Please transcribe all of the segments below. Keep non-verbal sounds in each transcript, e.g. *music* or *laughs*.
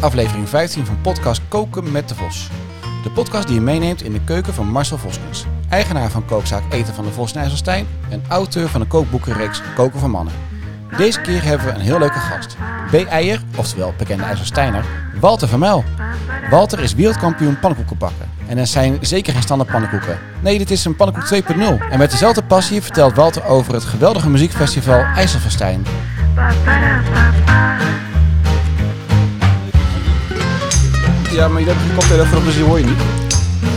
aflevering 15 van podcast Koken met de Vos. De podcast die je meeneemt in de keuken van Marcel Voskens. Eigenaar van kookzaak Eten van de Vos in IJsselstein en auteur van de kookboekenreeks Koken voor Mannen. Deze keer hebben we een heel leuke gast. B-eier, oftewel bekende IJsselsteiner, Walter van Mel. Walter is wereldkampioen pannenkoeken bakken. En dat zijn zeker geen standaard pannenkoeken. Nee, dit is een pannenkoek 2.0. En met dezelfde passie vertelt Walter over het geweldige muziekfestival IJsselfestijn. Ja, maar jullie hebben geen koptelefoon op, dus die hoor je niet.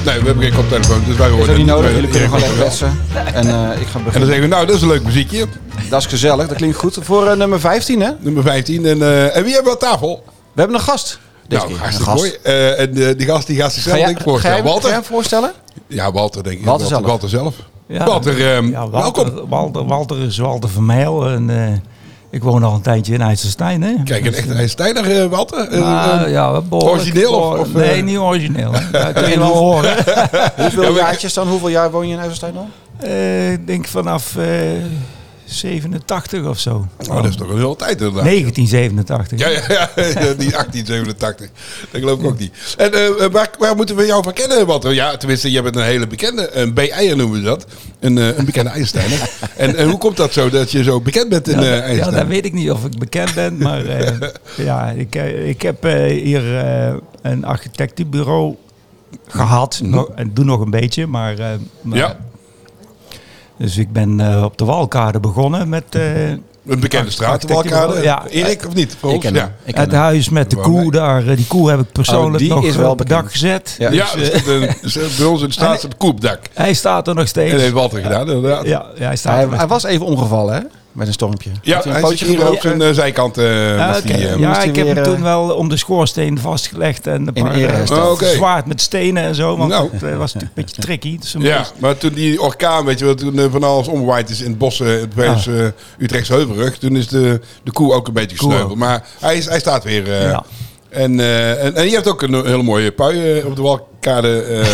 Nee, we hebben geen koptelefoon, dus wij horen Is ook het niet nodig, Wij- jullie kunnen gewoon iedereen lekker kan kletsen. En eh, ik ga wel. En dan beginnen. zeggen we, nou, dat is een leuk muziekje. Dat is gezellig, dat klinkt goed. Voor eh, nummer 15, hè? We Nummer 15. En, eh, en wie hebben we aan tafel? hebben een gast. Deze nou, keer. hartstikke Een mooi. Eh, en eh, die gast die gaat zichzelf Ga jij, denk ik ga jij, voorstellen. ga Walter? jij hem voorstellen? Ja, Walter denk ik. Walter zelf. Walter zelf. Ja, Walter, ehm, ja, welkom. Walter, Walter, Walter is Walter Vermeil en eh, ik woon al een tijdje in IJsselstein. Hè? Kijk, een echte IJsselsteiner, eh, Walter. Eh, Ah, eh, ja, behoorlijk- origineel of- behoorlijk- of, eh? nee, niet *laughs* origineel. Ja, kun je wel horen. Hoeveel Ja, maar- jaartjes dan? Hoeveel jaar woon je in IJsselstein dan? Eh, Ik denk vanaf eh, 87 of zo. oh, dat is toch een hele tijd inderdaad. 1987. Ja, ja, ja, *laughs* die 1887. Dat geloof ik ook niet. En eh, waar, waar moeten we jou van kennen, Walter? Ja, tenminste, jij bent een hele bekende, een BI'er noemen we dat. Een, eh, een bekende *laughs* IJsselsteiner. en eh, hoe komt dat zo, dat je zo bekend bent in Ja, eh dat- ja, dat IJsselstein? weet ik niet of ik bekend ben, *laughs* maar eh, ja, ik, eh, ik heb eh, hier eh, een architectenbureau gehad. Nog- en doe nog een beetje, maar, eh, maar Mhm. Ja. Dus ik ben eh, op de Walkade begonnen met eh, Een bekende straatwalkade. Ja. Erik, of niet? Voor Ik ons? ken hem. ja. Ik ken het hem. huis met de Waar koe wij- daar. Eh, Die koe heb ik persoonlijk die nog eh, is wel op het dak bekend. gezet. Ja. Ja, dus er staat een- er- bij ons in de straat staat een koepdak. Hij staat er nog En steeds. dat heeft Walter gedaan, inderdaad. Ja, ja, hij staat Hij, er nog hij was even omgevallen, hè? Met een stormpje. Had een hij zit pootje hier op gebroken? zijn eh, zijkant. eh, Ja, was die, Ah, oké. eh, ja moest hij ik heb weer, hem eh, toen wel om de schoorsteen vastgelegd en een In paar ere eh, hersteld. Oh, oké. zwaard met stenen en zo. Want Nou. het eh, was natuurlijk een beetje tricky. Dus een Ja, beetje- maar toen die orkaan, weet je wel, toen eh, van alles omwaaid is in het bos, eh, het Ah. Utrechts eh Utrechtse Heuvelrug, toen is de, de koe ook een beetje Koe gesneuveld. ook. Maar hij, is, hij staat weer. eh, Ja. en, eh, en, en je hebt ook een hele mooie pui eh, op de walkade *laughs* eh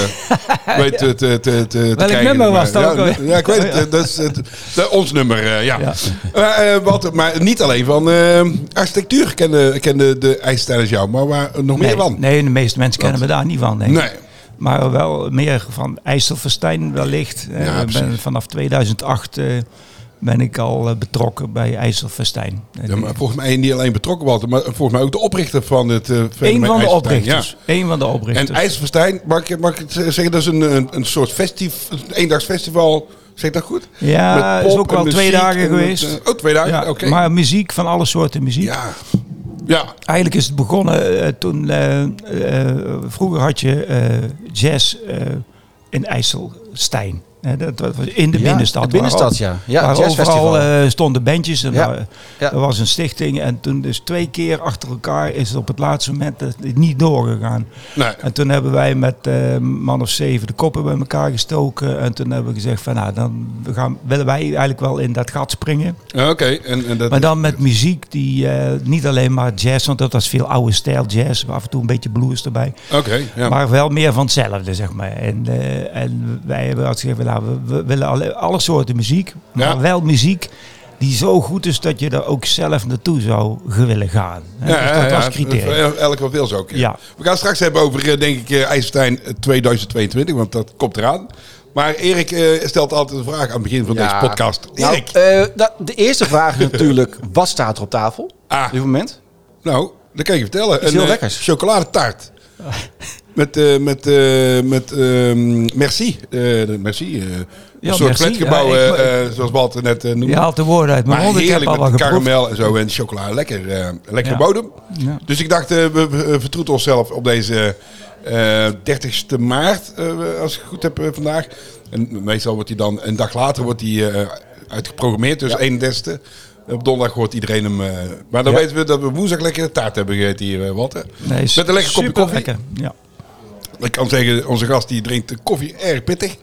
weet te, te, te, te Welk nummer was dat ja, ook alweer? Oh, Ja, ik weet het. Ja. eh, Dat is het, dat- ons nummer, eh, ja. Ja. Maar, eh, Walter, maar niet alleen van eh, architectuur kende, kende de IJsselstein jou, maar waar, nog meer nee, van? nee, de meeste mensen kennen me daar niet van. Denk ik. Nee. Maar wel meer van IJsselverstein wellicht. Eh, Ja, ik ben precies. vanaf 2008 eh, ben ik al eh, betrokken bij IJsselverstein. Ja, maar volgens mij niet alleen betrokken Walter, maar volgens mij ook de oprichter van het eh Eén fenomeen van de IJsselstein, oprichters. ja. Eén van de oprichters. En IJsselstein, mag ik, mag ik het zeggen, dat is een, een, een soort festiv, een eendagsfestival. Zeg ik dat goed? Ja, Met is pop ook en wel twee muziek dagen en met, geweest. eh, oh, twee dagen, Ja, oké. Maar muziek van alle soorten muziek. Ja. Ja. Eigenlijk is het begonnen eh, toen. eh, eh, vroeger had je eh, jazz eh, in IJsselstein. Hè, dat, dat was in de Ja, binnenstad. de binnenstad, waar- ja. Ja, waar het overal jazzfestival. eh, stonden bandjes. En Ja, daar- ja. Er was een stichting. En toen dus twee keer achter elkaar is het op het laatste moment eh, niet doorgegaan. Nee. En toen hebben wij met eh man of zeven de koppen bij elkaar gestoken. En toen hebben we gezegd van nou, dan we gaan, willen wij eigenlijk wel in dat gat springen. Ja, Oké. En, en dat, Maar dan met muziek die eh, niet alleen maar jazz, want dat was veel oude stijl jazz. Af en toe een beetje blues erbij. Oké, ja. Maar wel meer van hetzelfde, zeg maar. En, eh, en wij hebben altijd gezegd, nou, we, we willen alle, alle soorten muziek. Maar Ja. wel muziek die zo goed is dat je er ook zelf naartoe zou willen gaan. Hè, Ja, dus ja, dat ja. was criteria. Voor Elk wat wil ze ook. Ja. We gaan het straks hebben over, eh, denk ik, eh, IJsselstein 2022, want dat komt eraan. Maar Erik eh, stelt altijd een vraag aan het begin van Ja. eh, deze podcast. Nou, Erik, eh, da- de eerste vraag is natuurlijk, *laughs* wat staat er op tafel? Ah. Op dit moment? Nou, dat kan ik je vertellen. heel eh, lekkers. *laughs* chocoladetaart. Met, eh, met, eh, met ehm, merci. Eh, de merci. eh, Ja, een soort merci. flatgebouw, Ja, ik- eh, eh, zoals Walter net eh, noemde. Je haalt de woorden uit mijn maar mond. Ik heb heerlijk al wat met de geproefd. karamel en zo en chocola. Lekker, eh lekker Ja. bodem. Ja. Dus ik dacht, eh, we we, eh, vertroeten onszelf op deze eh 30ste maart, eh, als ik het goed heb eh, vandaag. En meestal wordt die dan een dag later wordt die, eh, uitgeprogrammeerd, dus 31ste. Op donderdag hoort iedereen hem. eh, maar dan Ja. weten we dat we woensdag lekker de taart hebben gegeten hier, eh, Walter. Nee, is Met een lekker kopje koffie. superlekker. Ja. Ik kan zeggen, onze gast die drinkt de koffie erg pittig.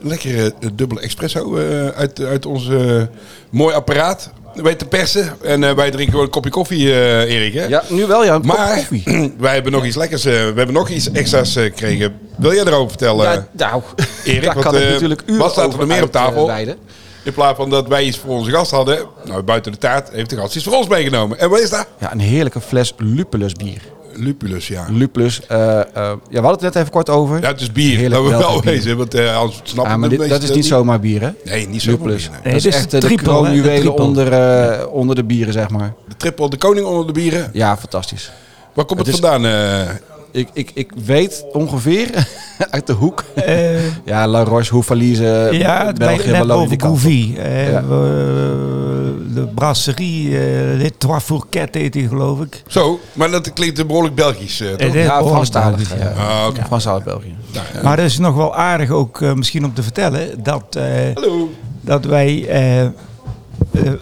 Lekkere eh, dubbele espresso eh, uit, uit ons eh, mooi apparaat. Weet te persen. En eh, wij drinken gewoon een kopje koffie, eh, Erik. Hè? Ja, nu wel ja, een kop Maar koffie. *clears throat* wij hebben nog iets lekkers. eh, we hebben nog iets extra's eh, gekregen. Wil jij erover vertellen? Ja, nou, eh, Erik, *laughs* daar wat, kan ik eh, natuurlijk uren wat staat er over nog meer op uit, eh, tafel? wijden. In plaats van dat wij iets voor onze gast hadden. Nou, buiten de taart heeft de gast iets voor ons meegenomen. En wat is dat? Ja, een heerlijke fles Lupulus bier. lupulus, ja. Lupulus. eh, eh, ja, we hadden het net even kort over. Ja, het is bier. Heerlijk dat we welke wel bier. wezen, want eh anders snappen Ah, maar de dit- dat meesten is niet zomaar bier, hè? Nee, niet zo Lupulus. bier, nee. dat is dit is echt eh, de triple, hè? De kroonjuwelen triple. onder, eh, onder de bieren, zeg maar. De triple, de koning onder de bieren. Ja, fantastisch. Waar komt het, Het is- vandaan? eh? Ik, ik, ik weet ongeveer *laughs* uit de hoek. Eh, Ja, La Roche, Hoefalize, ja, het blijft België, Wallonië, net boven die kant. op. Gouvy. Eh, Ja. we- de brasserie, eh Les Trois Fourquettes heet die, geloof ik. Zo, maar dat klinkt belgisch. Belgisch. eh, toch? Eh, Ja, oh, Franstalig. Belgisch, ja. Ja. Ah, oké. Franstalig België. Nou, eh, Maar dat is nog wel aardig ook eh, misschien om te vertellen dat, eh, Hallo. dat wij eh, eh,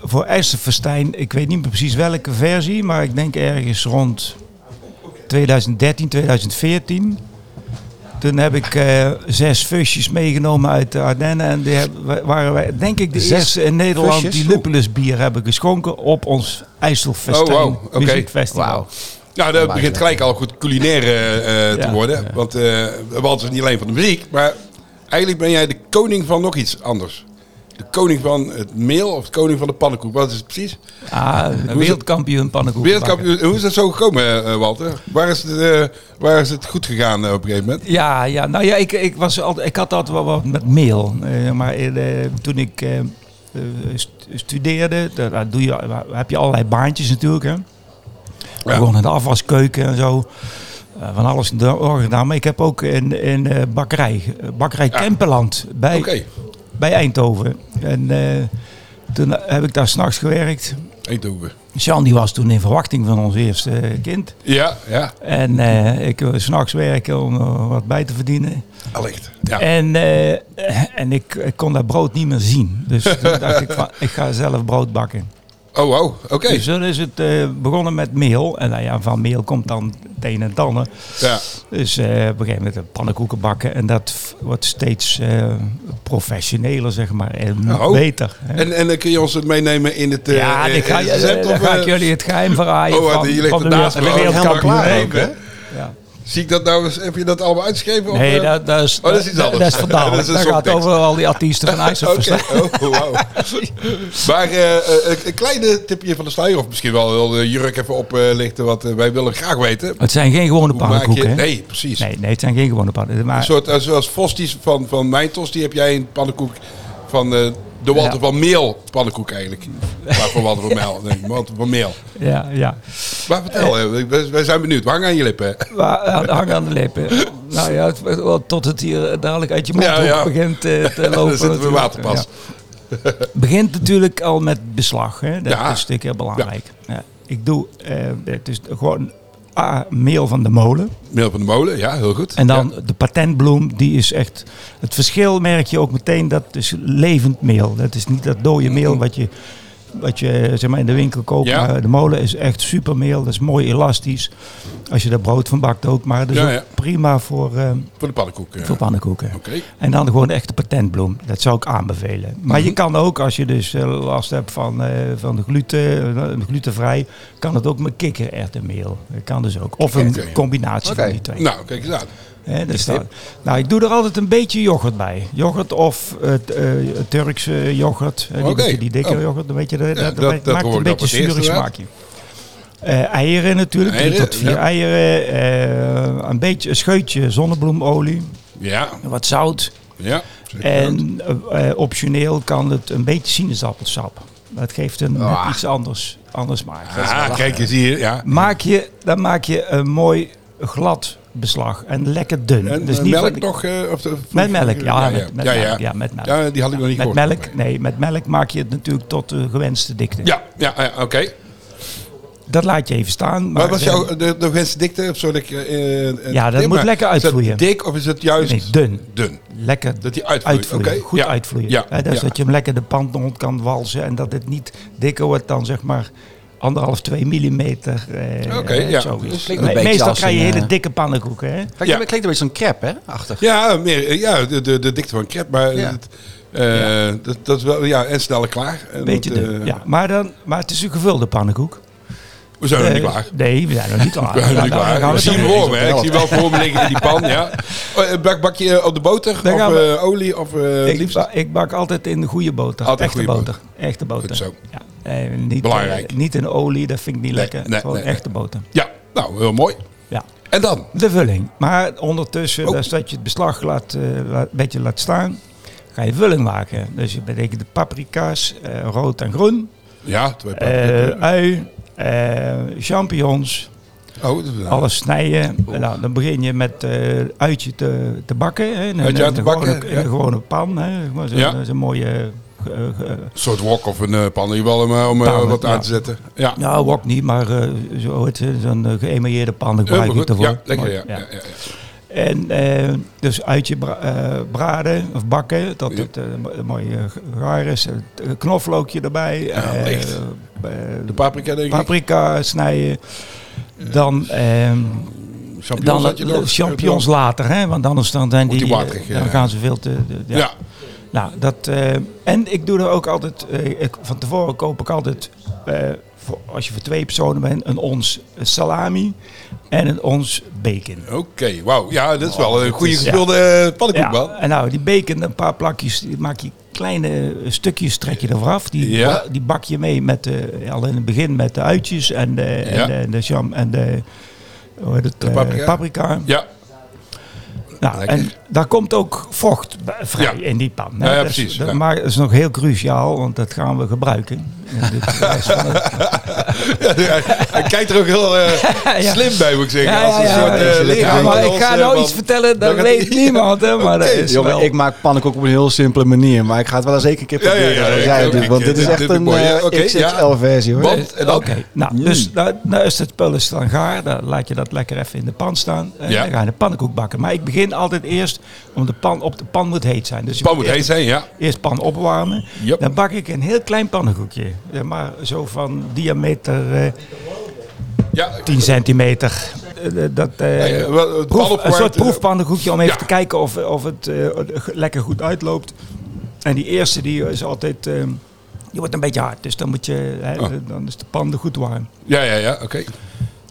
voor IJsselfestijn, ik weet niet meer precies welke versie, maar ik denk ergens rond 2013, 2014. Toen heb ik eh, zes fusjes meegenomen uit de Ardennen. En die hebben- wa- waren wij, denk ik, de Zes eerste in Nederland fusjes? die Lupulus bier hebben geschonken op ons IJsselfestijn Oh, wauw. Oké. muziekfestival. Wauw. Nou, dat begint gelijk al goed culinair eh, eh, te Oh, Ja. worden. Want eh Walt is niet alleen van de muziek, maar eigenlijk ben jij de koning van nog iets anders. De koning van het meel of de koning van de pannenkoek. Wat is het precies? Ah, wereldkampioen pannenkoeken bakken. Wereldkampioen. Hoe is dat zo gekomen, eh, Walter? Waar is, het, eh, waar is het goed gegaan eh, op een gegeven moment? Ja, ja, nou ja, ik, ik, was altijd, ik had altijd wel wat met mail. Eh, maar eh, toen ik eh, eh, st- studeerde, daar, daar doe je, daar heb je allerlei baantjes natuurlijk. Hè? Gewoon in de afwaskeuken en zo. Eh, van alles en door door gedaan. Maar ik heb ook in, in eh bakkerij, eh, bakkerij Kempeland bij, Oké, bij Eindhoven. En eh, toen heb ik daar s'nachts gewerkt. ik doe we. Sjan die was toen in verwachting van ons eerste eh, kind. Ja, ja. En eh, ik wil s'nachts werken om eh, wat bij te verdienen. Allicht. Ja. En, eh, en ik, ik kon dat brood niet meer zien. Dus *laughs* toen dacht ik van, ik ga zelf brood bakken. Oh, wow. Oké. Dus toen is het eh, begonnen met meel. En nou ja, van meel komt dan het een en het ander. Ja. Dus eh, op een gegeven moment pannenkoeken bakken. En dat f- wordt steeds eh, professioneler, zeg maar. En Oh. beter. hè. En, en eh, kun je ons het meenemen in het eh, ja, eh, dan ga, eh, je- recept dan of, ga eh, ik jullie het geheim verraaien Oh, van, die ligt van de ernaast. wereld- Oh, helemaal wereldkampioen. klaar hè. ook, hè? Ja. Zie ik dat nou eens? Heb je dat allemaal uitgeschreven? of, Nee, eh? dat, nou, dat, is, Oh, dat is iets anders. dat is *laughs* Dat verdammelijk. is een Dat gaat songtekst. over al die artiesten van IJsselverstaan. *laughs* Oké, oh, wauw. *laughs* Maar eh, eh, een- een kleine tipje van de sluier, of misschien wel heel de jurk even oplichten, wat eh, wij willen graag weten. Het zijn geen gewone Hoe maak je... pannenkoeken. hè? Nee, precies. nee, nee, het zijn geen gewone pannenkoeken. Een Maar soort, eh, zoals Fosties van, van Mijntos, die heb jij een pannenkoek van eh, de Walter Ja. van Meel pannenkoek eigenlijk. Waarvoor Walter van Meel? Nee, Walter van Meel. ja, ja. Maar vertel, eh, wij, wij zijn benieuwd. Hang aan je lippen. Maar aan- hang aan de lippen. nou ja, het- het- tot het hier eh, dadelijk uit je mond Ja, ja. begint *laughs* eh, te lopen. *laughs* Dan zitten we natuurlijk. waterpas. Ja. begint natuurlijk al met beslag. Hè? Dat Ja. is natuurlijk heel belangrijk. Ja. Ik doe eh, het is gewoon A, meel van de molen. Meel van de Molen, ja, heel goed. En dan de patentbloem, die is echt... Het verschil merk je ook meteen, dat is levend meel. Dat is niet dat dode meel wat je, wat je zeg maar, in de winkel koopt. Ja. Maar de molen is echt supermeel. Dat is mooi elastisch. Als je daar brood van bakt ook. Maar dat is Ja, ook ja. prima voor, eh, Ja, voor de pannenkoek. eh. voor pannenkoeken. Oké. En dan gewoon echt de patentbloem. Dat zou ik aanbevelen. Maar Mhm. je kan ook, als je dus eh, last hebt van, eh, van de gluten, eh, glutenvrij... kan het ook met kikkererwtenmeel. Dat kan dus ook. Of een Oké. combinatie Oké. van die twee. Nou, kijk eens aan. Hè, dus dat- nou, ik doe er altijd een beetje yoghurt bij. Yoghurt of eh, t- eh, Turkse yoghurt. eh, die, Oké. beetje die dikke Oh. yoghurt, weet je, dat, dat- dat- dat dat maakt hoor ik een dan beetje voor het zuurig eerst, smaakje. Eh, eieren natuurlijk, drie Eieren, tot vier ja. eieren. eh, een beetje een scheutje zonnebloemolie, Ja, wat zout. ja. zeker. En eh, eh, optioneel kan het een beetje sinaasappelsap. Dat geeft een net Ah. iets anders, anders smaak. Ah, kijk eens hier, ja. Maak je, dan maak je een mooi glad beslag en lekker dun. En dus eh, niet melk van- nog? eh, of de- Met melk, ja. ja. Met, met ja, melk, ja. ja, met melk. Ja, die had ik nog niet Met gehoord. melk, nee, met melk maak je het natuurlijk tot de gewenste dikte. Ja, ja, ja, oké. Dat laat je even staan. Maar Maar was eh, jouw de, de gewenste dikte? Of zo, dat ik, eh, eh, Ja, dat nee, moet maar lekker Is uitvloeien. dat dik of is het juist Nee, dun. dun? Lekker Dat die uitvloeit, oké. Goed Ja. uitvloeien. Ja. Eh, dat is Ja. dat je hem lekker de pand rond kan walsen en dat het niet dikker wordt dan zeg maar anderhalf, twee millimeter. eh, Oké, ja. zoiets. Dat klinkt een beetje meestal als krijg je een, hele eh, dikke pannenkoeken. Hè? Kijk, Ja. dat klinkt een beetje zo'n crepe, hè? Achtig. Ja, meer, eh, ja de, de, de dikte van een crepe. Maar Ja. het, eh, Dat, dat is wel, ja, en sneller klaar. En Beetje dat, eh, dun. Ja, maar, dan, maar het is een gevulde pannenkoek. We zijn nog niet Eh, klaar. Nee, we zijn nog niet *laughs* klaar. We zijn nog niet Nou, dan klaar. gaan Ik we zie toch- hem voor me, hè. Ik helft. zie wel voor me liggen in die pan, *laughs* ja. Oh, eh, Bak, bak je op de boter Dan of gaan we- eh, olie of eh, het Ik, liefst? ba- ik bak altijd in goede boter. Altijd echte goede boter. boter. Echte boter. Goed zo. Ja. Eh, niet, Belangrijk. eh, niet in olie, dat vind ik niet Nee, lekker. nee, Gewoon nee, echte boter. Ja, nou, heel mooi. Ja. En dan? De vulling. Maar ondertussen, Oh. dus dat je het beslag laat, eh, la- een beetje laat staan, ga je vulling maken. Dus je betekent de paprika's, eh, rood en groen, Ja, twee eh, paprika's. ui, eh, champignons, oh, dat is- alles snijden. En Nou, dan begin je met eh uitje te, te bakken. Hè, in een- Uitje uit in te een bakken, gewone- in ja. een gewone pan, hè. Gewoon Zo'n Ja. zo'n mooie... eh, eh, eh, Een soort wok of een eh, pan in ieder geval om, eh, om eh, Pan, wat ja. aan te zetten. Ja, nou, wok niet, maar eh, zo, het, zo'n eh, geëmailleerde pan Heel gebruik ik goed. ervoor. Ja, lekker. Mooi, Ja, ja. Ja, ja. En eh, dus uitje bra- eh, braden of bakken, dat Ja. het eh, mo- mooi eh, gaar is. Een knoflookje erbij. eh, echt. eh, De paprika denk ik. paprika snijden. Dan, ehm, Champignons dan had je nog. champignons later, hè, want anders dan zijn Moet die, die waterig, eh, dan ja. gaan ze veel te... de- Ja. Ja. Nou, dat, eh, en ik doe er ook altijd, eh, ik, van tevoren koop ik altijd, eh, voor, als je voor twee personen bent, een ons salami en een ons bacon. Oké, wauw. Ja, dat is wel een goede Oh, is- gevulde eh, pannenkoek, man. en nou, die bacon, een paar plakjes, die maak je kleine stukjes, trek je er vanaf. Die, Ja. ba- die bak je mee met, eh, al in het begin met de uitjes en de, Ja. en de, en de jam en de, hoe heet het, eh, paprika. paprika. Ja, *laughs* Nou, Lekker. en daar komt ook vocht bij- vrij Ja. in die pan. Ja, ja, dat, is- precies, Dat, ja. Maar dat is nog heel cruciaal, want dat gaan we gebruiken. in *laughs* dit lijst van het- hij, hij kijkt er ook heel eh, Ja. slim bij, moet ik zeggen. Ja, Als een ja, ja, soort ja, eh, ja, leraar maar van ik ga ons, nou eh, iets van- vertellen, dat gaat- weet *laughs* niemand. Hè, maar dat Oké, is Jongen, wel... ik maak pannenkoeken op een heel simpele manier, maar ik ga het wel eens één keer een keer Ja, ja, proberen ja, zoals ja, jij het oké, doet, want dit is dit- echt dit een word je. eh, Oké, ja. XXL-versie hoor. Want, en Oké, dan- Mm. nou, dus nou, nou is het spul is dan gaar. Dan laat je dat lekker even in de pan staan. En Ja. dan ga je de pannenkoek bakken. Maar ik begin altijd eerst, om de pan op de pan moet heet zijn. Dus je Pan moet heet eerst, zijn, ja. eerst pan opwarmen. Yep. Dan bak ik een heel klein pannenkoekje. Ja, maar zo van diameter eh, ja. 10 centimeter. Eh, dat, eh, Ja, ja, wel, het proef- pan een opwarmt, soort eh, proefpannenkoekje om even ja. te kijken of, of het eh, g- lekker goed uitloopt. En die eerste die is altijd... eh, die wordt een beetje hard, dus dan, moet je, hè, Oh. dan is de pan er goed warm. Ja, ja, ja, oké.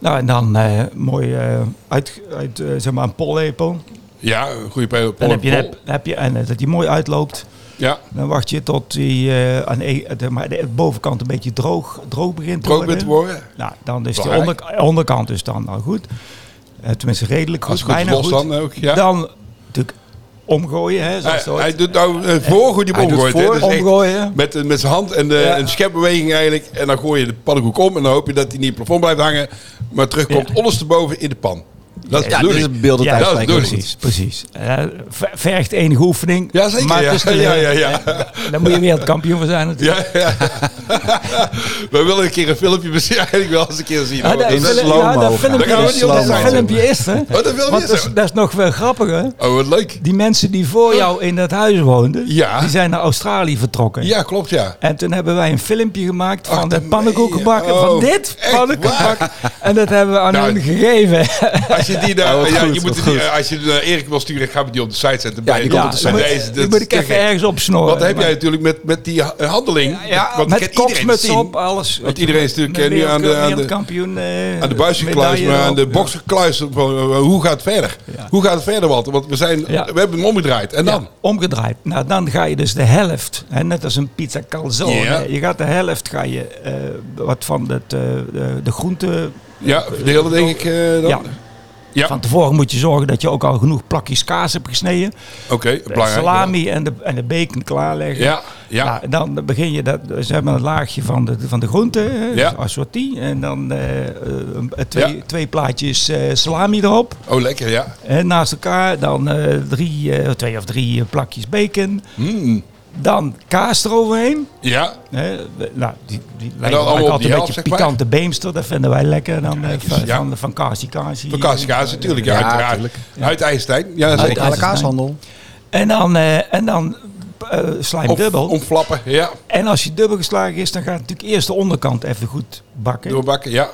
Nou, en dan eh, mooi eh, uit, uit eh, zeg maar een pollepel. Ja, een goede pol. Dan heb je, pol- heb, heb je, en eh, dat die mooi uitloopt. Ja, Dan wacht je tot die eh, aan e- de, maar de bovenkant een beetje droog, droog begint te probeer worden. te worden. Nou, dan is de Belangrijk. onder, onderkant is dan al goed. Eh, tenminste, redelijk goed. Als het goed bijna is los goed. dan ook, ja. Dan natuurlijk omgooien. Hè, zoals Hij, het hoort. hij doet nou eh, voor hoe die Hij bom doet gooit. hè. voor, Dus echt omgooien. Met, met zijn hand en de, Ja. een schepbeweging eigenlijk. En dan gooi je de pannenkoek om. En dan hoop je dat hij niet in het plafond blijft hangen. Maar terugkomt ondersteboven in de pan. Dat is Ja, de dit is bedoeling. een beeldend Ja, dat is uitspraak. bedoeling. Precies, precies. Eh, ver- vergt enige oefening. Ja, zeker. Maar ja. het is te ja, ja, leren. ja. Dan moet je wereldkampioen voor zijn natuurlijk. Ja, ja. *laughs* We willen een keer een filmpje misschien eigenlijk wel eens een keer zien. hoor. dat in Dat is- film- slow-mo. ja, dat Daar gaan we filmpje, niet is, op dat zijn. filmpje is er. dat filmpje Want is dat is, er. dat is nog wel grappiger. oh, wat leuk. Die mensen die voor jou in dat huis woonden, Ja. die zijn naar Australië vertrokken. Ja, klopt ja. En toen hebben wij een filmpje gemaakt van Ach, de nee. pannenkoekenbakken. van Oh, dit echt pannenkoekenbak. En dat hebben we aan Nou, hun gegeven. Als je die *laughs* daar, Oh, wat ja, goed, je moet wat die, eh, goed. als je die naar Erik wil sturen, gaan we die op de site zetten. Ja, die komt op de die site. moet- Deze, die dat moet is ik te even gek. ergens opsnoren. Wat heb Maar- jij natuurlijk met, met die eh, handeling? Ja, Want met kent iedereen kopsmuts zien. op, alles. Weet je, iedereen is natuurlijk, eh, nu wereld- aan de- aan de- wereldkampioen, eh, Aan de buis gekluist, medaille maar aan de erop. box gekluist. Van, eh, Hoe gaat het verder? Ja. Hoe gaat het verder, Walter? Want we, zijn, Ja. we hebben hem omgedraaid. En dan? Ja, omgedraaid. Nou, dan ga je dus de helft, hè, net als een pizza calzone. Ja. hè, Je gaat de helft, ga je eh, wat van het, eh, de, de groente... Ja, verdelen denk ik eh, dan. Ja. Ja. Van tevoren moet je zorgen dat je ook al genoeg plakjes kaas hebt gesneden. Oké, De belangrijk. salami en de, en de bacon klaarleggen. Ja, ja. Nou, en dan begin je dat, ze hebben een laagje van de, van de groente, hè, Ja. dus assortie. En dan eh, eh, twee, Ja. twee plaatjes eh, salami erop. Oh, lekker, ja. En naast elkaar dan eh, drie, eh, twee of drie eh, plakjes bacon. Mm. Dan kaas eroverheen. Ja, Hè, we- nou, die, die lijken allemaal maken op altijd die een helft, beetje zeg maar. pikante beemster. Dat vinden wij lekker. Dan, eh, eens, van, ja. van, van Kasi Kasi. van Kaas natuurlijk. Ja, Ja, uiteraard. tuurlijk. Uit IJsselstein. Ja, Uit zeker. de kaashandel. En dan, eh, en dan eh slijm Om- dubbel. Omflappen, ja. En als je dubbel geslagen is, dan gaat natuurlijk eerst de onderkant even goed bakken. Doorbakken, ja.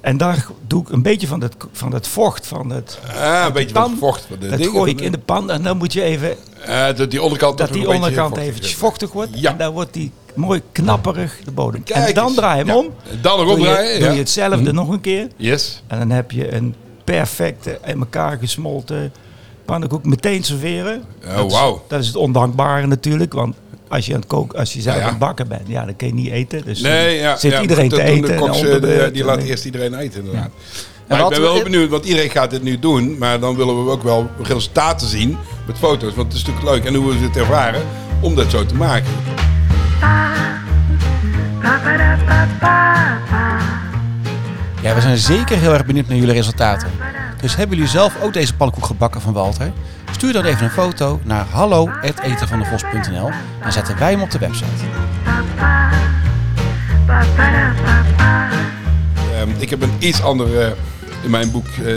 En daar doe ik een beetje van dat, van dat vocht van het... Ah, een beetje pan, van vocht. Van de dat dingen gooi van ik in de pan en dan moet je even de- Eh, dat die onderkant, dat toch die een beetje onderkant vochtig eventjes is. vochtig wordt. Ja. En dan wordt die mooi knapperig de bodem. Kijk en dan eens. draai je hem Ja. om. Dan nog Doe je, omdraaien. doe ja. Mhm. je hetzelfde nog een keer. Yes. En dan heb je een perfecte, in elkaar gesmolten pannenkoek meteen serveren. Oh, Dat is- wauw. Dat is het ondankbare natuurlijk, want als je aan het koken, als je zelf Ja, ja. aan het bakken bent, ja, dan kun je niet eten. Dus dan Nee, ja. zit ja, iedereen dat te doen eten. De en koks, onder eh, die, beurt die en- laat eerst iedereen eten, inderdaad. Maar ik wat- ben wel benieuwd, want iedereen gaat dit nu doen. Maar dan willen we ook wel resultaten zien met foto's. Want het is natuurlijk leuk. En hoe we het ervaren om dat zo te maken. Ja, we zijn zeker heel erg benieuwd naar jullie resultaten. Dus hebben jullie zelf ook deze pannenkoek gebakken van Walter? Stuur dan even een foto naar hallo.etenvandevos.nl en zetten wij hem op de website. Ehm, ik heb een iets andere in mijn boek eh,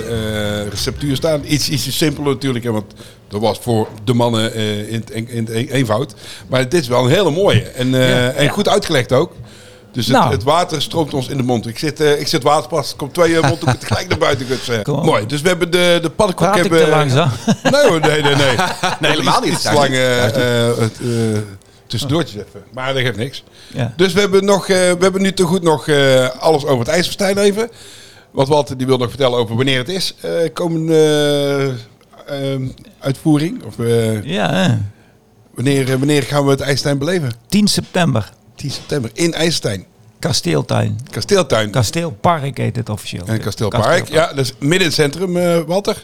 eh, receptuur staan. Iets, iets simpeler natuurlijk, hè, want dat was voor de mannen eh, in, het en- in het een- eenvoud. Maar dit is wel een hele mooie en, eh, en goed uitgelegd ook. Dus het, Nou. het water stroomt ons in de mond. Ik zit, eh ik zit waterpas, komt twee eh, mondhoeken tegelijk naar buiten gutsen. Kom op. Mooi. Dus we hebben de, de paddenkoek... Praat ik hebben, te langzaam? *laughs* *laughs* Nee hoor, nee, nee, nee. Nee, helemaal niet. Iets lang eh, eh, het, eh, tussendoortjes even. Maar dat geeft niks. Ja. Dus we hebben, nog, eh, we hebben nu te goed nog eh, alles over het ijsverstijn even. Want Walter die wil nog vertellen over wanneer het is. eh komende eh, ehm, uitvoering. Of eh, Ja, hè. wanneer, eh, wanneer gaan we het ijsstijn beleven? 10 september, 10 september in IJsstein. Kasteeltuin. Kasteeltuin. Kasteelpark heet het officieel. en Kasteelpark. Ja, dat is midden in het centrum, eh, Walter.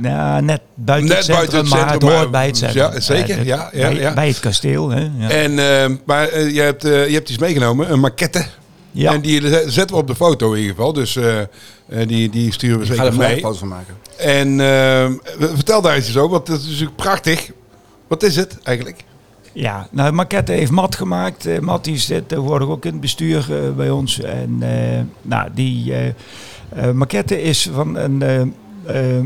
Nou, net buiten Net het centrum, buiten het maar centrum, het maar- hoort bij het centrum. Ja, zeker, ja, ja, bij, ja. bij het kasteel, hè. Ja. En, eh, maar eh, je, hebt, eh, je hebt iets meegenomen, een maquette. Ja. En die zet- zetten we op de foto in ieder geval. Dus eh, eh, die, die sturen we Ik ga er zeker gelijk mee. een foto van maken. En ehm, vertel daar iets over, want het is natuurlijk prachtig. Wat is het eigenlijk? Ja, nou, Maquette heeft Matt gemaakt. Eh, Matt die zit tegenwoordig ook in het bestuur eh, bij ons. En eh, nou, die eh eh, Maquette is van een eh, eh,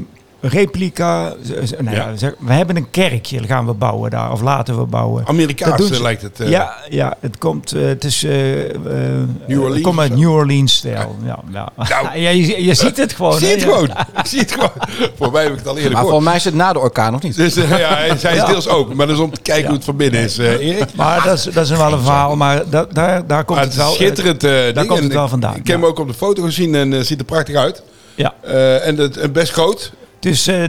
replica. z- z- Nou, Ja. ja. zeg, we hebben een kerkje, dat gaan we bouwen daar, of laten we bouwen. Dat Amerikaans doen ze. lijkt het. eh. ja, ja, het komt, eh, het is, eh, eh, het Orleans komt uit of zo. New Orleans-stijl. Ja, ja. Nou. *laughs* Ja, je, je ziet het gewoon. Ik zie hè, het Oh, ja. gewoon. *laughs* Ik zie het gewoon. Voor mij heb ik het al eerder Maar gehoord. volgens mij is het na de orkaan, of niet? Dus eh, ja, *laughs* hij hij is Ja. deels open, maar dat is om te kijken hoe het van binnen is, eh, Erik. Maar dat is, dat is wel een verhaal, maar da- daar, daar komt Maar het het is wel. schitterend. eh, ding. komt En het wel ik- vandaan, Ik heb hem ja. ook op de foto gezien en eh ziet er prachtig uit. Ja. Eh, en het, en best groot. Het is eh,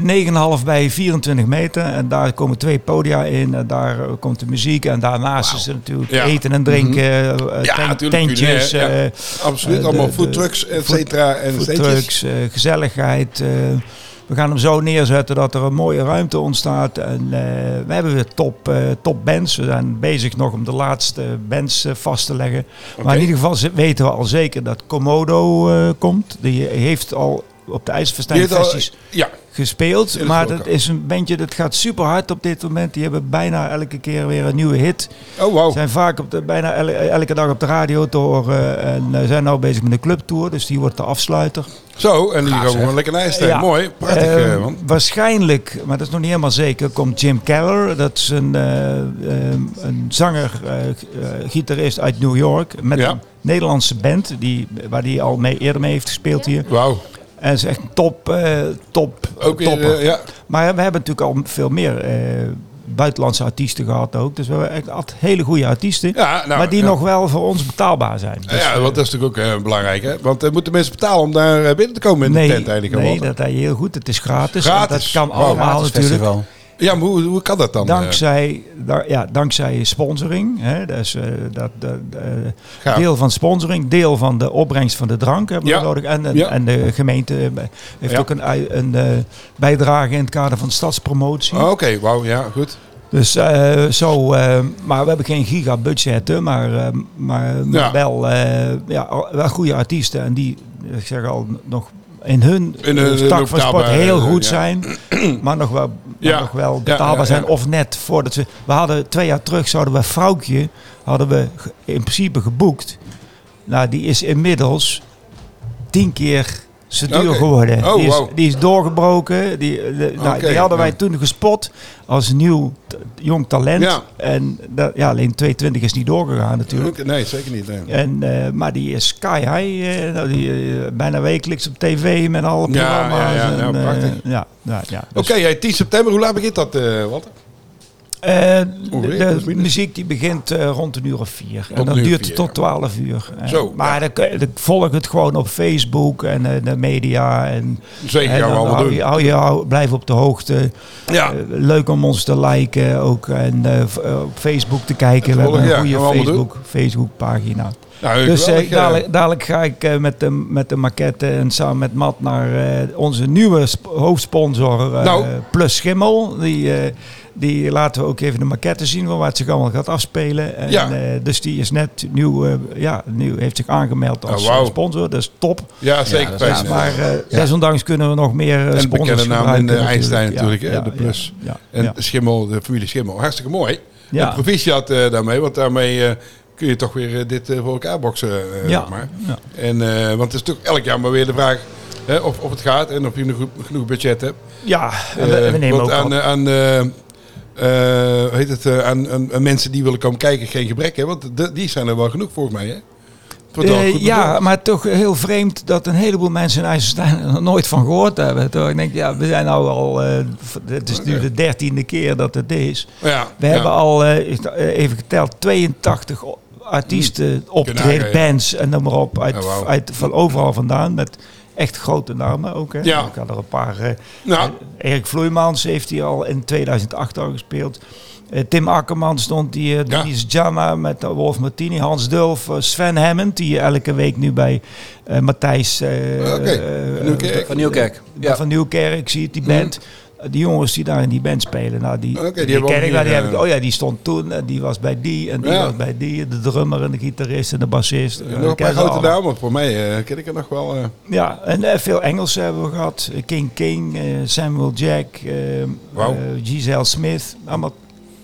9,5 bij 24 meter en daar komen twee podia in. En daar eh, komt de muziek en daarnaast is er natuurlijk Ja. Mhm. eten en drinken, eh, Ja, tent- natuurlijk, tentjes, culinair, ja. eh, Absoluut. eh, allemaal de- foodtrucks, de et cetera. En steentjes. foodtrucks, eh, gezelligheid. eh, we gaan hem zo neerzetten dat er een mooie ruimte ontstaat. En eh, we hebben weer top, eh, top bands. We zijn bezig nog om de laatste bands eh, vast te leggen. Maar in ieder geval ze- weten we al zeker dat Komodo eh, komt. Die heeft al op de Die heeft al- IJsverstijnfesties Ja, gespeeld. dat maar wil ik dat ook. is een bandje dat gaat super hard op dit moment. Die hebben bijna elke keer weer een nieuwe hit. oh wow. Zijn vaak op de, bijna el- elke dag op de radio te horen. En eh, zijn nou bezig met een clubtour. Dus die wordt de afsluiter. Zo, en die gaan we gewoon lekker naar IJsland. Ja. Mooi, prachtig Eh, eh, man. waarschijnlijk, maar dat is nog niet helemaal zeker, komt Jim Keller. Dat is een, eh, eh, een zanger, eh, g- eh, gitarist uit New York. Met Ja. een Nederlandse band, die, waar hij al mee, eerder mee heeft gespeeld hier. Wauw. En dat is echt een top, eh, top, Ook weer, topper. eh, ja. Maar we hebben natuurlijk al veel meer eh, buitenlandse artiesten gehad ook. Dus we hebben echt altijd hele goede artiesten. Ja, nou, maar die ja. nog wel voor ons betaalbaar zijn. Dus, ja, want dat is natuurlijk ook eh, belangrijk. Hè? Want eh, moeten mensen betalen om daar eh, binnen te komen in nee, de tent eigenlijk? nee Walter? dat hij heel goed. Het is gratis. Gratis. Dat kan Wow. allemaal Gratis natuurlijk. festival. Ja, maar hoe, hoe kan dat dan? eh? Dankzij, da- ja, dankzij sponsoring. Hè, dus, eh, dat, dat, eh, Gaaf. deel van sponsoring, deel van de opbrengst van de drank hebben we Ja. nodig. En, en, Ja. en de gemeente heeft Ja. ook een, ui- een eh, bijdrage in het kader van stadspromotie. Oh, Oké, wauw, ja, goed. Dus eh, zo, eh, maar we hebben geen gigabudgetten, maar, eh, maar Ja. wel, eh, ja, al- wel goede artiesten. En die, ik zeg al, nog in hun In hun- eh, tak hun van sport betaalbaar, heel eh, goed ja. *clears throat* zijn, maar nog wel, maar Ja. nog wel Ja, betaalbaar ja, ja. zijn. Of net voordat ze... We hadden twee jaar terug, zouden we Vrouwtje, hadden we ge- in principe geboekt. Nou, die is inmiddels tien keer ze duur Oké. geworden. Oh, die, is, wauw. die is doorgebroken. Die, eh, de- nou, Oké, die hadden wij ja. toen gespot als nieuw t- jong talent. Ja. En dat, ja, alleen 220 is niet doorgegaan natuurlijk. Tuurlijk, nee, zeker niet. nee. En, eh, maar die is sky high, eh, nou, die, eh, bijna wekelijks op tv met alle Ja, programma's. ja, ja, ja, en, eh, prachtig. ja, ja, ja. Oké, eh, 10 september, hoe laat begint dat, eh, Walter? Eh, Ongeveer, de, plus de minus. muziek die begint eh, rond een uur of vier. een en dat uur of duurt vier, ja. tot twaalf uur. Eh, Zo, maar ja. dan, kun je- dan volg het gewoon op Facebook en eh, de media. En, Zeker, en gaan we dan allemaal hou doen. je, hou je, hou- blijf op de hoogte. Ja, Eh, leuk om ons te liken ook. En eh, v- eh, op Facebook te kijken. Het We hebben volgen, een ja, goede gaan we allemaal Facebook, Facebook pagina. Nou, Dus eh, geweldig, eh. dadelijk, dadelijk ga ik eh, met, de, met de maquette en samen met Matt naar eh, onze nieuwe sp- hoofdsponsor eh, Nou. Plus Schimmel. Die, eh, die laten we ook even de maquette zien van waar het zich allemaal gaat afspelen. En, Ja. eh, dus die is net nieuw, eh, ja, nieuw heeft zich aangemeld als Oh, wauw. eh, sponsor. Dat is top. ja, zeker. dat is Thijs. waar. Maar eh, desondanks kunnen we nog meer eh, En sponsors bekende naam gebruiken in de natuurlijk. Einstein Ja, natuurlijk, hè, ja, de ja, Plus. ja, En ja. Schimmel, de familie Schimmel. Hartstikke mooi. Ja. En proficiat eh, daarmee, want daarmee eh, kun je toch weer eh, dit eh, voor elkaar boksen. eh, Ja. zeg maar. Ja. En, eh, want het is natuurlijk elk jaar maar weer de vraag hè, of, of het gaat en of je nog goed- genoeg budget hebt. Ja, en we, en we Eh, nemen want ook aan, wat. eh, aan, eh, eh, hoe heet het, eh, aan, aan, aan mensen die willen komen kijken geen gebrek, hè? want de- die zijn er wel genoeg volgens mij. Hè? Het wordt wel Eh, goed ja, bedoeld. maar toch heel vreemd dat een heleboel mensen in IJsselstein er nog nooit van gehoord hebben. Toch? Ik denk, ja, we zijn nou al, eh, v- het is nu de dertiende keer dat het is. ja, We ja. hebben al, eh, is- eh, even geteld, 82 o- Hmm. artiesten optreden, Knagen, ja. bands en noem maar op. Uit, Ja, Oh, wauw. uit, van overal vandaan, met echt grote namen ook. Hè? Ja. Ik had er een paar... eh, Nou, eh, Erik Vloeimans heeft hij al in 2008 al gespeeld. Eh, Tim Akkerman stond die, eh, Ja. Denise Jama met eh, Wolf Martini, Hans Dulf, eh, Sven Hammond, die elke week nu bij eh, Matthijs eh, Oké, eh, Nieuwkerk. Mhm. Van Nieuwkerk. ja. van Nieuwkerk, zie je die band. Eh, Die jongens die daar in die band spelen, nou, die, Oké, die die, hebben we ken ook ik wel. Die hier, heb ik, eh, oh ja, die stond toen en die was bij die en die Ja. was bij die. De drummer en de gitarist en de bassist. Eh, nog een ik ken paar ze grote allemaal. namen, want voor mij eh, ken ik er nog wel. eh, Ja, en eh, veel Engelsen hebben we gehad. Eh, King King, eh, Samuel Jack, eh, Wauw. eh, Giselle Smith. Allemaal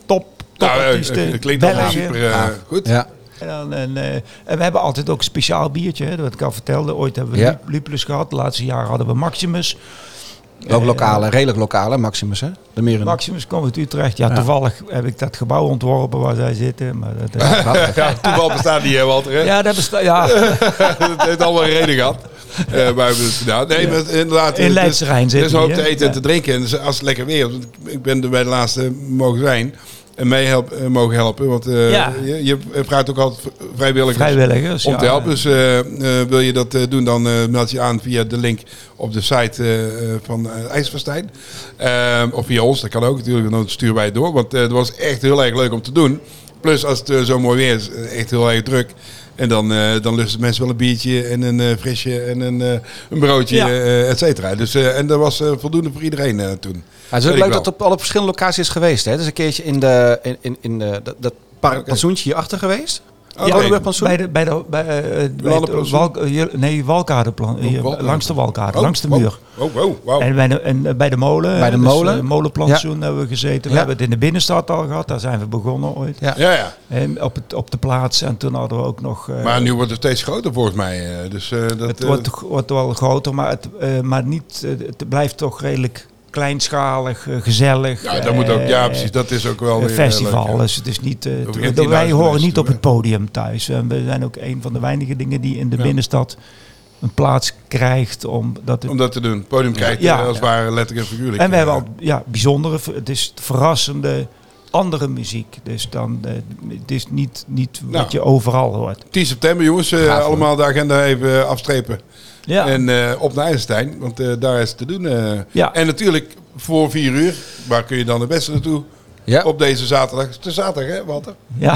top, top Nou, eh, artiesten. het klinkt allemaal Belgen. super eh, goed. Ja. En, dan- en, eh, en we hebben altijd ook een speciaal biertje, hè, wat ik al vertelde. Ooit hebben we Ja. Lu- Lupulus gehad, de laatste jaren hadden we Maximus. Ook lokale, redelijk lokale, Maximus hè? De meren. Maximus komt uit Utrecht. Ja, Ja. toevallig heb ik dat gebouw ontworpen waar zij zitten. Maar *laughs* dat, eh, *laughs* Ja, toeval bestaat niet, hè, Walter. Hè? ja, dat bestaat... *laughs* Ja, het heeft allemaal een reden gehad. Eh wij hebben het gedaan. Nee, maar inderdaad. In eh, Leidse dus- Rijn zitten Dus hoop die, te hè? eten en Ja. te drinken. En dus als het lekker weer is. want Ik ben er bij de laatste eh, mogen zijn. En mij help, eh, mogen helpen. Want eh, Ja. je, je vraagt ook altijd v- vrijwilligers vrijwilligers. om ja. te helpen. Dus eh, eh, wil je dat eh, doen, dan eh, meld je aan via de link op de site eh, eh, van eh, IJsverstein. Eh, of via ons, dat kan ook natuurlijk. En dan sturen wij het door. Want eh, het was echt heel erg leuk om te doen. Plus als het eh, zo mooi weer is, eh, echt heel erg druk. En dan, eh, dan lusten mensen wel een biertje en een eh, frisje en een, eh, een broodje, Ja. eh, et cetera. Dus, eh, en dat was eh, voldoende voor iedereen eh, toen. Maar het is ook leuk dat het op alle verschillende locaties is geweest. Hè? Dus een keertje in, de, in, in, in de, dat, dat park plantsoentje hierachter geweest. Oh, Oké. Rodeburgplantsoen. Bij de, bij de, bij, eh, bij het Landenplantsoen? Walk- eh, hier- nee, Walkadeplan, hier, Walkade. langs de Walkade, langs de wow. muur. Oh, wow, wow. En, bij de, en eh, bij de molen, Bij de eh, molen. eh, molenplantsoen hebben we gezeten. We Ja. hebben het in de binnenstad al gehad, daar zijn we begonnen ooit. Ja. Ja, ja. En op, het, op de plaats en toen hadden we ook nog... eh, Maar nu wordt het steeds groter volgens mij. eh, Dus, eh, dat, het eh, wordt, wordt wel groter, maar het, eh, maar niet, eh, het blijft toch redelijk kleinschalig, eh, gezellig. Ja, dat moet ook, ja, precies. Dat is ook wel Een weer, eh, festival, leuk, ja. dus het is niet... eh, hoef te- je geen wij 10.000 horen mensen niet toe, op het hè? podium thuis. En we zijn ook een van de weinige dingen die in de Ja. binnenstad een plaats krijgt. Omdat het, om dat te doen. Podium krijgt Ja. eh, als het ware letterlijk en figuurlijk. en we hebben Ja. al ja, bijzondere, het is verrassende andere muziek. Dus dan, eh, het is niet, niet wat Nou. je overal hoort. 10 september, jongens. eh, Gaaf, hoor. allemaal de agenda even eh, afstrepen. Ja, En eh, op naar IJsselstein, want eh, daar is het te doen. eh. Ja. En natuurlijk voor 4 uur. Waar kun je dan het beste naartoe? Ja. Op deze zaterdag. Het is de zaterdag, hè, Walter? ja.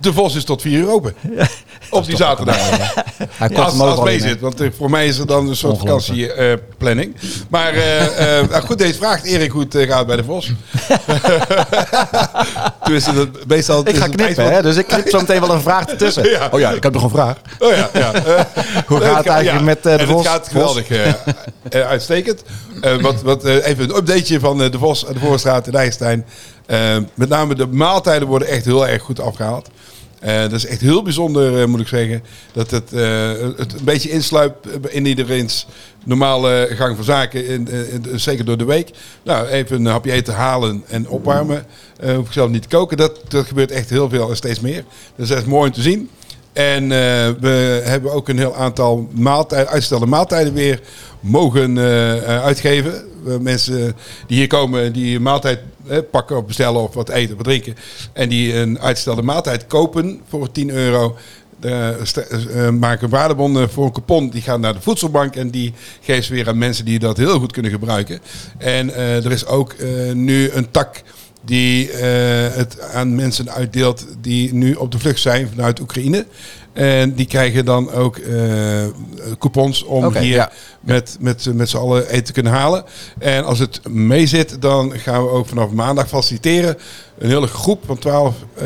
De Vos is tot 4 uur open. Op die zaterdag. Hij kort als, hem als overal mee in, hè? zit, want eh, voor mij is er dan een soort Ongelooflijk. vakantieplanning. maar eh, *laughs* eh, nou goed, deze vraagt Erik hoe het eh, gaat bij de *laughs* Vos. *laughs* Tenminste, dat, meestal Ik is ga het knippen, meestal- hè? dus ik knip zo meteen wel een vraag ertussen. *laughs* Ja. Oh ja, ik heb nog een vraag. Oh ja, ja. Eh, *laughs* Hoe nee, gaat het eigenlijk met, eh, de En het Vos? gaat geweldig. eh, eh, uitstekend. Eh, wat, wat, eh, even een updateje van eh, de Vos aan de Voorstraat in IJstein. Eh, met name de maaltijden worden echt heel erg goed afgehaald. Eh, dat is echt heel bijzonder, eh, moet ik zeggen. Dat het, eh, het een beetje insluipt in iedereen's normale gang van zaken. In, eh, in- in- zeker door de week. Nou, even een hapje eten halen en opwarmen. Eh hoef ik zelf niet te koken. Dat, dat gebeurt echt heel veel en steeds meer. Dus dat is mooi om te zien. En eh, we hebben ook een heel aantal maaltijden, uitgestelde maaltijden weer mogen eh, eh, uitgeven. Eh, mensen die hier komen, die een maaltijd eh, pakken of bestellen of wat eten, wat drinken. En die een uitgestelde maaltijd kopen voor 10 euro. eh, st- eh, maken waardebonnen voor een coupon. Die gaan naar de voedselbank en die geeft ze weer aan mensen die dat heel goed kunnen gebruiken. En eh, er is ook eh, nu een tak die eh, het aan mensen uitdeelt die nu op de vlucht zijn vanuit Oekraïne. En die krijgen dan ook eh, coupons om Oké, hier ja. met, met, met z'n allen eten te kunnen halen. En als het mee zit, dan gaan we ook vanaf maandag faciliteren. Een hele groep van twaalf eh,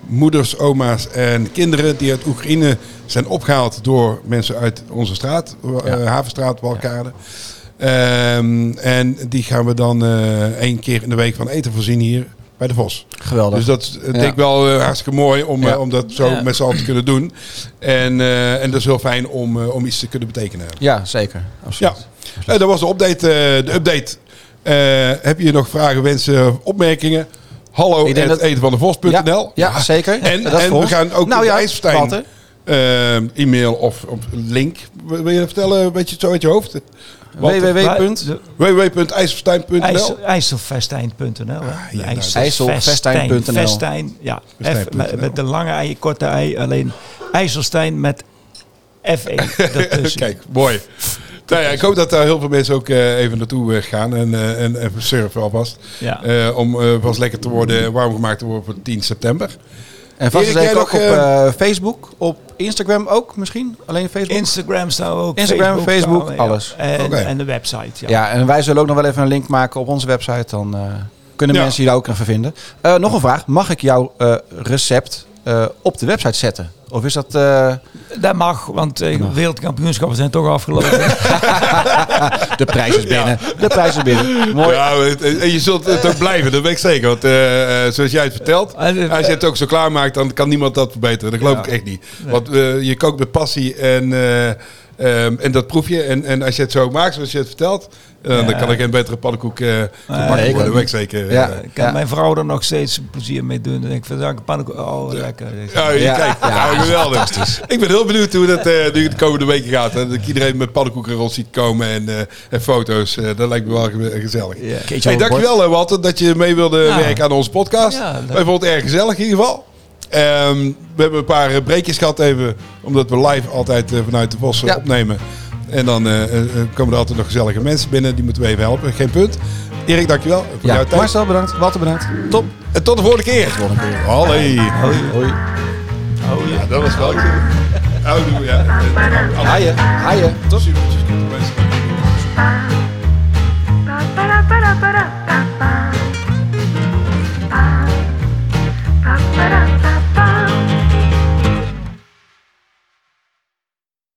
moeders, oma's en kinderen die uit Oekraïne zijn opgehaald door mensen uit onze straat, eh, Havenstraat, Walkade. Ehm, en die gaan we dan eh, één keer in de week van eten voorzien hier bij de Vos. Geweldig. Dus dat is eh, denk Ja. ik wel eh, hartstikke mooi om, eh, Ja. om dat zo Ja. met z'n allen te kunnen doen. En, eh, en dat is heel fijn om, eh, om iets te kunnen betekenen. Ja, zeker. Absoluut. Ja, Eh, dat was de update. eh, de update. Eh, heb je nog vragen, wensen, opmerkingen? Hallo Ik denk at dat- etenvandevos.nl Ja, ja, zeker. En, Dat is en voor we ons. gaan ook Nou de ja, IJsselstein, Walter. eh, e-mail of, of link. Wil wil je dat vertellen? Weet je het zo uit je hoofd? www. De- www.ijsselstein.nl IJssel- IJsselfestijn.nl. hè? Ah, ja, nou, De IJssel- IJsselfestijn.nl. Festijn, Festijn, ja. F, Festijn.nl. met, met de lange ei, korte ei. Alleen IJsselstein met E. F1 *laughs* ertussen. Kijk, mooi. Nou ja, ik hoop dat daar heel veel mensen ook eh, even naartoe eh, gaan en, eh, en even surfen alvast. Ja. Eh, om eh, vast lekker te worden, warm gemaakt te worden voor 10 september. En vast en Erik, zeker jij ook op nog, eh, eh, Facebook, op Instagram ook misschien? Alleen Facebook? Instagram staan we ook. Instagram, Facebook, staan we, ja. alles. En, Oké. en de website, ja. Ja, en wij zullen ook nog wel even een link maken op onze website. Dan eh, kunnen Ja. mensen je daar ook naar vinden. Eh, nog een vraag. Mag ik jouw eh, recept eh, op de website zetten? Of is dat... eh, Dat mag, want eh, wereldkampioenschappen zijn toch *laughs* afgelopen. *laughs* de prijs is binnen. De prijs is binnen. Mooi. Ja, Nou, het- en je zult het ook blijven, dat weet ik zeker. Want eh, eh, zoals jij het vertelt, Ah, dit- als je het ook zo klaarmaakt, dan kan niemand dat verbeteren. Dat geloof Ja. ik echt niet. Want eh, je kookt met passie en, eh, ehm, en dat proef je. En, en als je het zo maakt, zoals je het vertelt, eh, dan Ja. kan er geen betere pannenkoek eh gebakken nee, ik worden. Dat ook weet ik zeker. Ja. Eh, kan mijn vrouw er nog steeds plezier mee doen. Dan denk ik, vandaag een pannenkoek. Oh, lekker. Ja, je Ja. kijkt. Ja. Ja, geweldig. Ik ben heel benieuwd hoe dat eh, nu de komende weken gaat. Hè. Dat ik iedereen met pannenkoeken rond ziet komen en, eh, en foto's. Eh, dat lijkt me wel ge- gezellig. Ja. Keetje Hey, overboord. dankjewel hè, Walter dat je mee wilde Ja. werken aan onze podcast. Ja, leuk. Wij vonden het erg gezellig in ieder geval. Ehm, we hebben een paar eh, breekjes gehad even. Omdat we live altijd eh, vanuit de Bossen Ja. opnemen. En dan eh, eh, komen er altijd nog gezellige mensen binnen. Die moeten we even helpen. Geen punt. Erik, dankjewel voor jouw Ja, tijd. Marcel bedankt. Walter bedankt. Top. En tot de volgende keer. Allee. Hoi. Oh, ja. Ja, dat was wel gezellig. Houdoe, ja. Haaien. Haaien. Tot ziens.